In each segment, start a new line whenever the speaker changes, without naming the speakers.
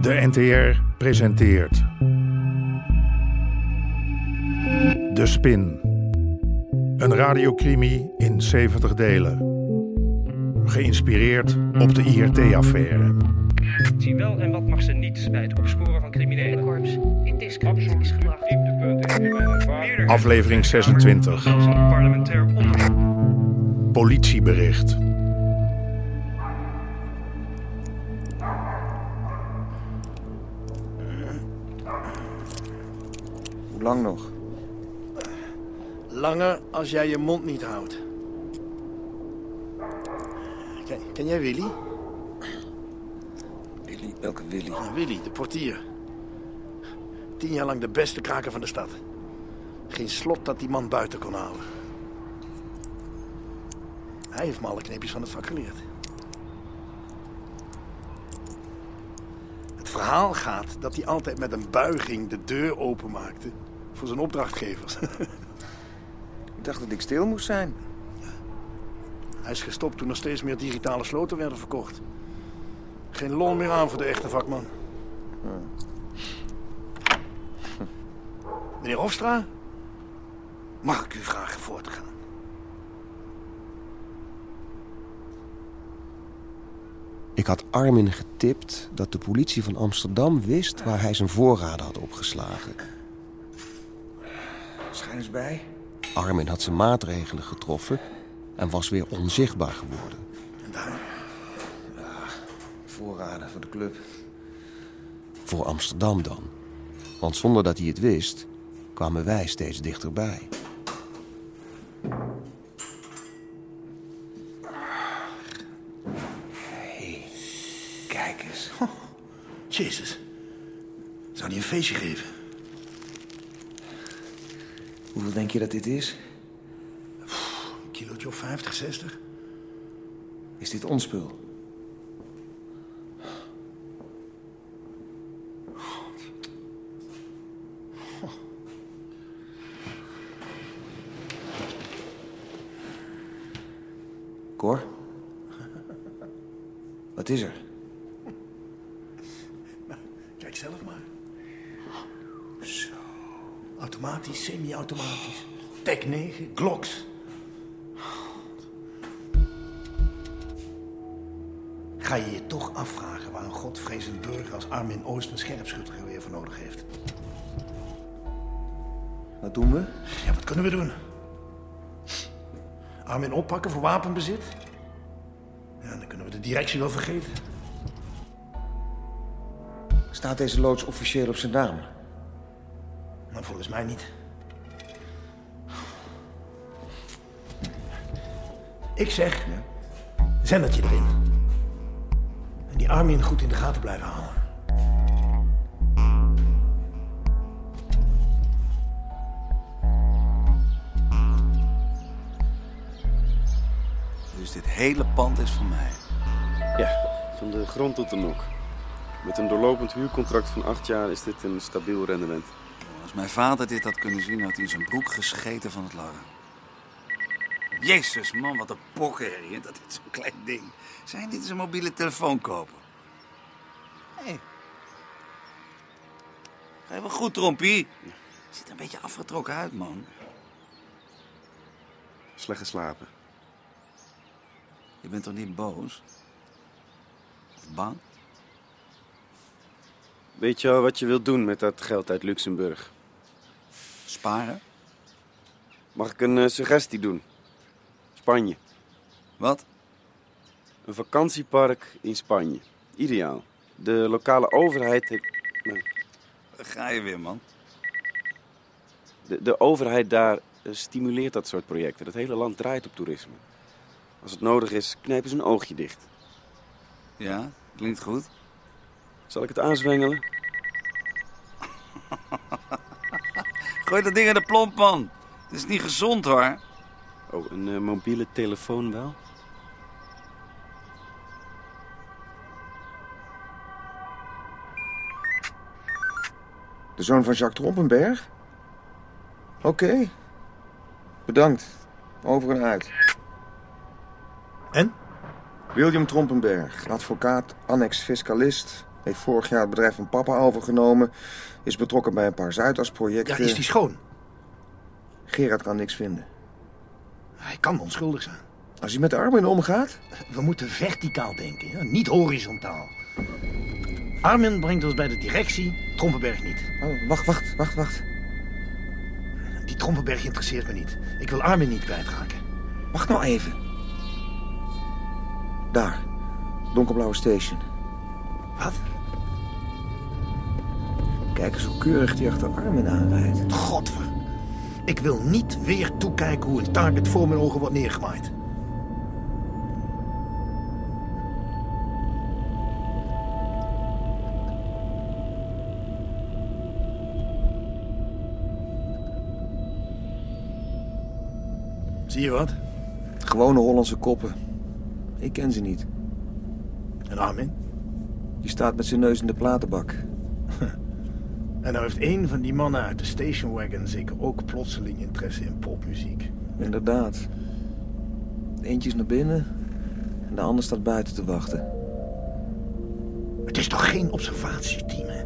De NTR presenteert. De Spin. Een radiocrimi in 70 delen. Geïnspireerd op de IRT-affaire.
Wat Zie wel en wat mag ze niet bij het opsporen van criminelen.
Corps in discrediet is gebracht.
Aflevering 26.
Dat is een parlementair onderzoek.
Politiebericht.
Hoe lang nog?
Langer als jij je mond niet houdt. Ken, ken jij Willy?
Willy, welke Willy?
Ja, Willy, de portier. Tien jaar lang de beste kraker van de stad. Geen slot dat die man buiten kon houden. Hij heeft me alle kneepjes van het vak geleerd. Het verhaal gaat dat hij altijd met een buiging de deur openmaakte voor zijn opdrachtgevers.
Ik dacht dat ik stil moest zijn.
Hij is gestopt toen er steeds meer digitale sloten werden verkocht. Geen lol meer aan voor de echte vakman. Hm. Meneer Hofstra, mag ik u vragen voor te gaan?
Ik had Armin getipt dat de politie van Amsterdam wist waar hij zijn voorraden had opgeslagen. Schijn eens bij. Armin had zijn maatregelen getroffen en was weer onzichtbaar geworden.
En daar,
Voorraden voor de club. Voor Amsterdam dan. Want zonder dat hij het wist, kwamen wij steeds dichterbij.
kijk eens. Jezus, zou hij een feestje geven?
Hoeveel denk je dat dit is?
Een kilootje of 50, 60?
Is dit ons spul? Cor? Wat is er?
Kijk zelf maar. Zo. Automatisch, semi-automatisch. Tech 9, Glocks. Ga je je toch afvragen waar een godvrezend burger als Armin Oost een scherpschuttergeweer voor nodig heeft?
Wat doen we?
Ja, wat kunnen we doen? Armin oppakken voor wapenbezit? Ja, dan kunnen we de directie wel vergeten.
Staat deze loods officieel op zijn naam?
Maar volgens mij niet. Ik zeg, zendertje erin. En die Armin goed in de gaten blijven houden.
Dus dit hele pand is van mij.
Ja, van de grond tot de nok. Met een doorlopend huurcontract van acht jaar is dit een stabiel rendement.
Als mijn vader dit had kunnen zien, had hij zijn broek gescheten van het lachen. Jezus, man, wat een pokherrie. hè, Dat is zo'n klein ding. Zijn dit eens een mobiele telefoon kopen? Hé. Ga je wel goed, Trompie? Ziet er een beetje afgetrokken uit, man.
Slecht geslapen.
Je bent toch niet boos? Of bang?
Weet je al wat je wilt doen met dat geld uit Luxemburg?
Sparen?
Mag ik een eh, suggestie doen? Spanje.
Wat?
Een vakantiepark in Spanje. Ideaal. De lokale overheid heeft... nou,
Daar ga je weer, man.
De, de overheid daar eh, stimuleert dat soort projecten. Het hele land draait op toerisme. Als het nodig is, knijpen ze een oogje dicht.
Ja, klinkt goed.
Zal ik het aanzwengelen?
Gooi dat ding in de plomppan. Het is niet gezond, hoor.
Oh, een eh, mobiele telefoon wel?
De zoon van Jacques Trompenberg? Oké. Bedankt. Over en uit.
En?
William Trompenberg, advocaat, annex fiscalist, Heeft vorig jaar het bedrijf van papa overgenomen. Is betrokken bij een paar
Ja,
Zuidas-projecten.
is die schoon?
Gerard kan niks vinden.
Hij kan onschuldig zijn.
Als hij met de Armin omgaat...
We moeten verticaal denken, hè? niet horizontaal. Armin brengt ons bij de directie, Trompenberg niet.
Oh, wacht, wacht, wacht, wacht.
Die Trompenberg interesseert me niet. Ik wil Armin niet kwijtraken.
Wacht nou even. Daar. Donkerblauwe station.
Wat?
Kijk eens hoe keurig die achter Armin aanrijdt.
Godver. Ik wil niet weer toekijken hoe een target voor mijn ogen wordt neergemaaid. Zie je wat?
Gewone Hollandse koppen. Ik ken ze niet.
Een Armin.
Die staat met zijn neus in de platenbak.
En nou heeft één van die mannen uit de station wagon zeker ook plotseling interesse in popmuziek.
Inderdaad. Eentje is naar binnen en de ander staat buiten te wachten.
Het is toch geen observatieteam, hè?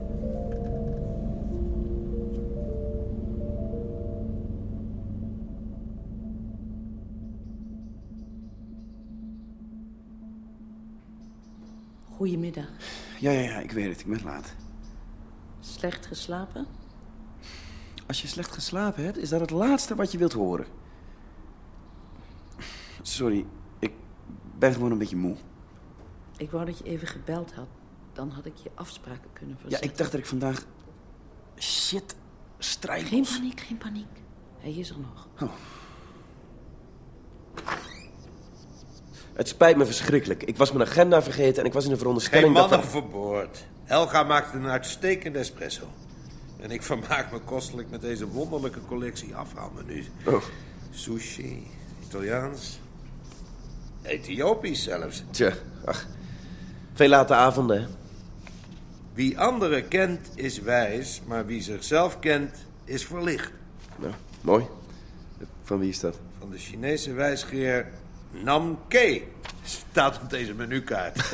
Goedemiddag.
Ja, ja, ja, ik weet het. Ik ben laat.
Slecht geslapen?
Als je slecht geslapen hebt, is dat het laatste wat je wilt horen. Sorry, ik ben gewoon een beetje moe.
Ik wou dat je even gebeld had. Dan had ik je afspraken kunnen
Ja,
verzetten.
ik dacht dat ik vandaag... Shit,
Geen
strijd.
paniek, geen paniek. Hij is er nog.
Het spijt me verschrikkelijk. Ik was mijn agenda vergeten en ik was in de
Geen
veronderstelling
mannen
dat... we-
verboord. Helga maakt een uitstekende espresso. En ik vermaak me kostelijk met deze wonderlijke collectie afhaalmenu's.
Oh.
Sushi, Italiaans, Ethiopisch zelfs.
Tja, ach. Veel late avonden, hè?
Wie anderen kent is wijs, maar wie zichzelf kent is verlicht.
Nou, mooi. Van wie is dat?
Van de Chinese wijsgeer Nam Ke. Staat op deze menukaart.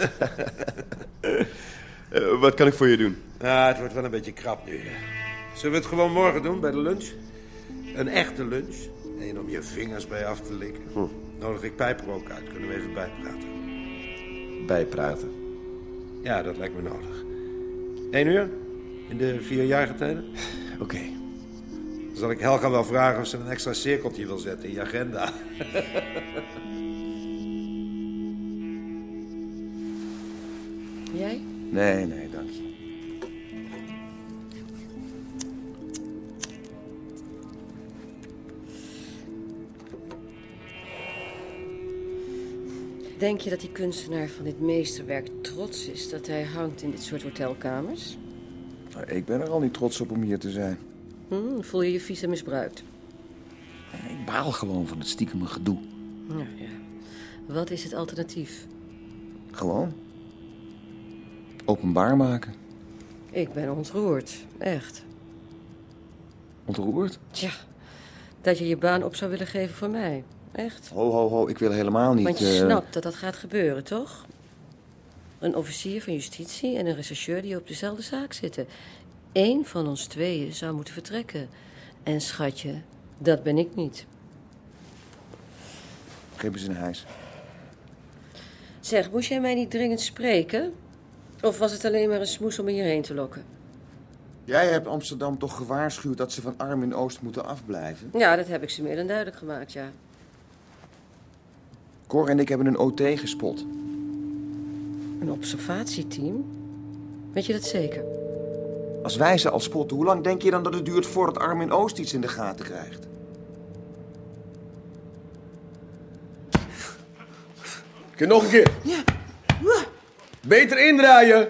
Eh, wat kan ik voor je doen?
ah, het wordt wel een beetje krap nu. hè. Zullen we het gewoon morgen doen bij de lunch? Een echte lunch. Eén om je vingers bij af te likken.
Hm.
Nodig ik pijprook uit, kunnen we even bijpraten.
Bijpraten.
Ja, dat lijkt me nodig. Eén uur? In de vierjarige tijden?
Oké.
Dan zal ik Helga wel vragen of ze een extra cirkeltje wil zetten in je agenda.
Jij?
Nee, nee, dank je.
Denk je dat die kunstenaar van dit meesterwerk trots is dat hij hangt in dit soort hotelkamers?
Maar Ik ben er al niet trots op om hier te zijn.
Hm, voel je je vies en misbruikt?
Ik baal gewoon van het stiekeme gedoe.
Ja, ja. Wat is het alternatief?
Gewoon. Openbaar maken.
Ik ben ontroerd, echt.
Ontroerd.
Tja, dat je je baan op zou willen geven voor mij, echt.
Ho, ho, ho. Ik wil helemaal niet...
Want je
eh,
snapt dat dat gaat gebeuren, toch? Een officier van justitie en een rechercheur die op dezelfde zaak zitten. Eén van ons tweeën zou moeten vertrekken. En schatje, dat ben ik niet.
Geef eens een hijs.
Zeg, moest jij mij niet dringend spreken? Of was het alleen maar een smoes om me hierheen te lokken?
Jij hebt Amsterdam toch gewaarschuwd dat ze van Armin Oost moeten afblijven?
Ja, dat heb ik ze meer dan duidelijk gemaakt, ja.
Cor en ik hebben een OT gespot.
Een observatieteam? Weet je dat zeker?
Als wij ze al spotten, hoe lang denk je dan dat het duurt voordat Armin Oost iets in de gaten krijgt?
Kun je nog een keer? Ja. Beter indraaien.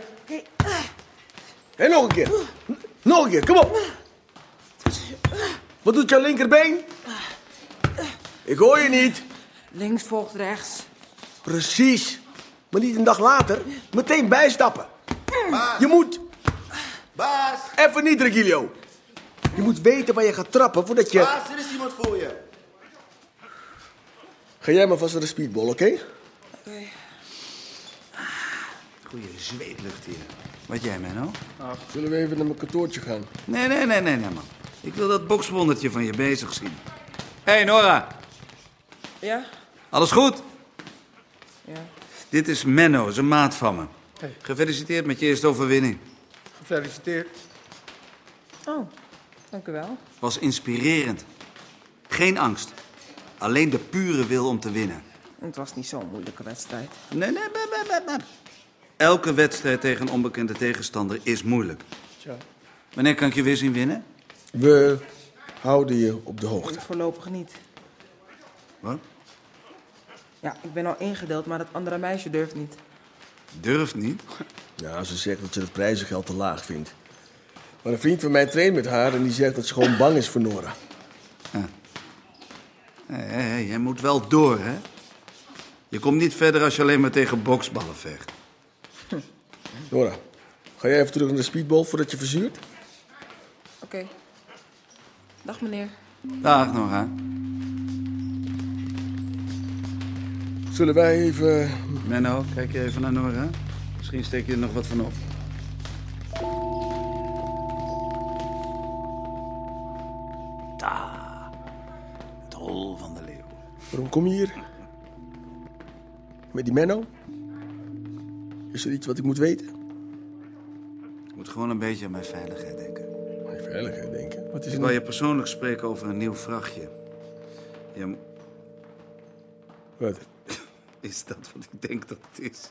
En nog een keer. Nog een keer, kom op. Wat doet jouw linkerbeen? Ik hoor je niet.
Links volgt rechts.
Precies. Maar niet een dag later. Meteen bijstappen. Je moet...
Baas,
Even niet, Regilio. Je moet weten waar je gaat trappen voordat je...
baas, er is iemand voor je.
Ga jij maar vast naar de speedball, oké?
Goeie zweetlucht hier. Wat jij, Menno?
Zullen we even naar mijn kantoortje gaan?
Nee, nee, nee, nee, nee, man. Ik wil dat bokswondertje van je bezig zien. Hé, hey, Nora.
Ja?
Alles goed?
Ja.
Dit is Menno, zijn maat van me.
Hey.
Gefeliciteerd met je eerste overwinning.
Gefeliciteerd.
Oh, dank u wel.
Was inspirerend. Geen angst. Alleen de pure wil om te winnen.
Het was niet zo'n moeilijke wedstrijd.
Nee, nee, nee, nee, nee, nee. Elke wedstrijd tegen een onbekende tegenstander is moeilijk.
Tja.
Wanneer kan ik je weer zien winnen?
We houden je op de hoogte.
Voorlopig niet.
Wat?
Ja, ik ben al ingedeeld, maar dat andere meisje durft niet.
Durft niet?
Ja, ze zegt dat ze het prijzengeld te laag vindt. Maar een vriend van mij traint met haar en die zegt dat ze gewoon bang is voor Nora.
Hé, hé, hé, jij moet wel door, hè? Je komt niet verder als je alleen maar tegen boksballen vecht.
Nora, ga jij even terug naar de speedball voordat je verzuurt?
Oké. Dag meneer.
Dag, Nora.
Zullen wij even... eh,
Menno, kijk je even naar Nora. Misschien steek je er nog wat van op. Ta. Het hol van de leeuw.
Waarom kom je hier? Met die Menno? Is er iets wat ik moet weten?
Ik moet gewoon een beetje aan mijn veiligheid denken.
Mijn veiligheid denken? Wat is
Ik
er
wil
nou-
je persoonlijk spreken over een nieuw vrachtje. Ja, m-
Wat?
is dat wat ik denk dat het is?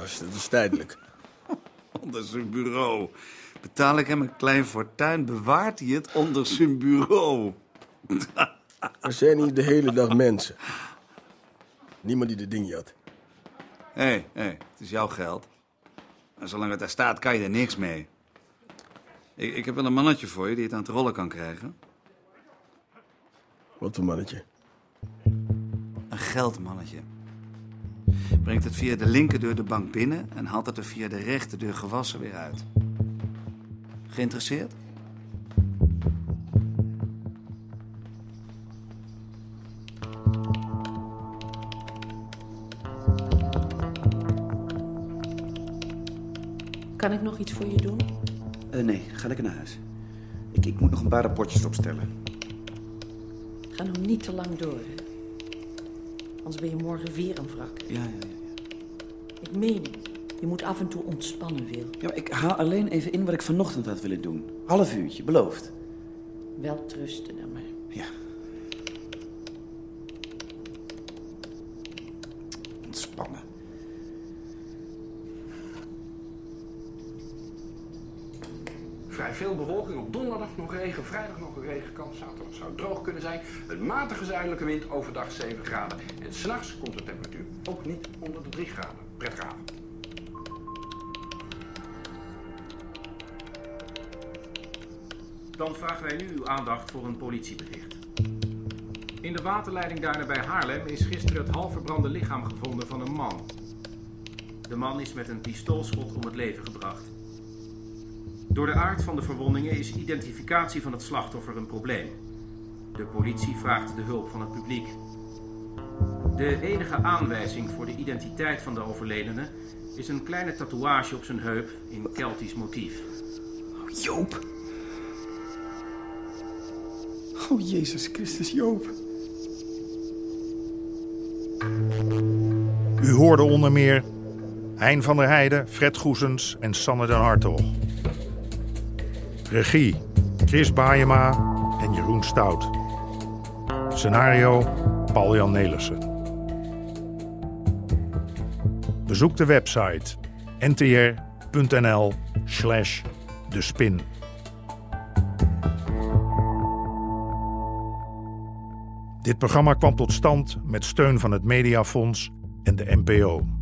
Als- Dat is tijdelijk.
Onder zijn bureau. Betaal ik hem een klein fortuin, bewaart hij het onder zijn bureau.
Er zijn hier de hele dag mensen. Niemand die de ding had.
Hé, hey, hey, het is jouw geld. En zolang het daar staat, kan je er niks mee. Ik, ik heb wel een mannetje voor je die het aan het rollen kan krijgen.
Wat een mannetje.
Een geldmannetje. Brengt het via de linkerdeur de bank binnen en haalt het er via de rechterdeur gewassen weer uit. Geïnteresseerd?
Kan ik nog iets voor je doen?
Eh, nee, ga lekker naar huis. Ik, ik moet nog een paar rapportjes opstellen.
Ga nou niet te lang door, hè. Anders ben je morgen weer een wrak.
Ja, ja.
Ik meen het. Je moet af en toe ontspannen, Wil.
ja maar ik haal alleen even in wat ik vanochtend had willen doen. Half uurtje, beloofd.
Wel trusten dan maar.
Ja. Ontspannen.
Vrij veel bewolking. Op donderdag nog regen, vrijdag nog een regenkans. Zaterdag zou het droog kunnen zijn. Een matige zuidelijke wind, overdag 7 graden. En s'nachts komt de temperatuur ook niet onder de 3 graden. Prettige avond.
Dan vragen wij nu uw aandacht voor een politiebericht. In de waterleiding daar bij Haarlem is gisteren het half verbrande lichaam gevonden van een man. De man is met een pistoolschot om het leven gebracht. Door de aard van de verwondingen is identificatie van het slachtoffer een probleem. De politie vraagt de hulp van het publiek. De enige aanwijzing voor de identiteit van de overledene is een kleine tatoeage op zijn heup in Keltisch motief.
Joop. Oh, Jezus Christus, Joop.
U hoorde onder meer Hein van der Heijden, Fred Goesens en Sanne den Hartog. Regie Chris Baayema en Jeroen Stout. Scenario Paul-Jan Nelissen. Bezoek de website ntr.nl slash de spin. Dit programma kwam tot stand met steun van het Mediafonds en de NPO.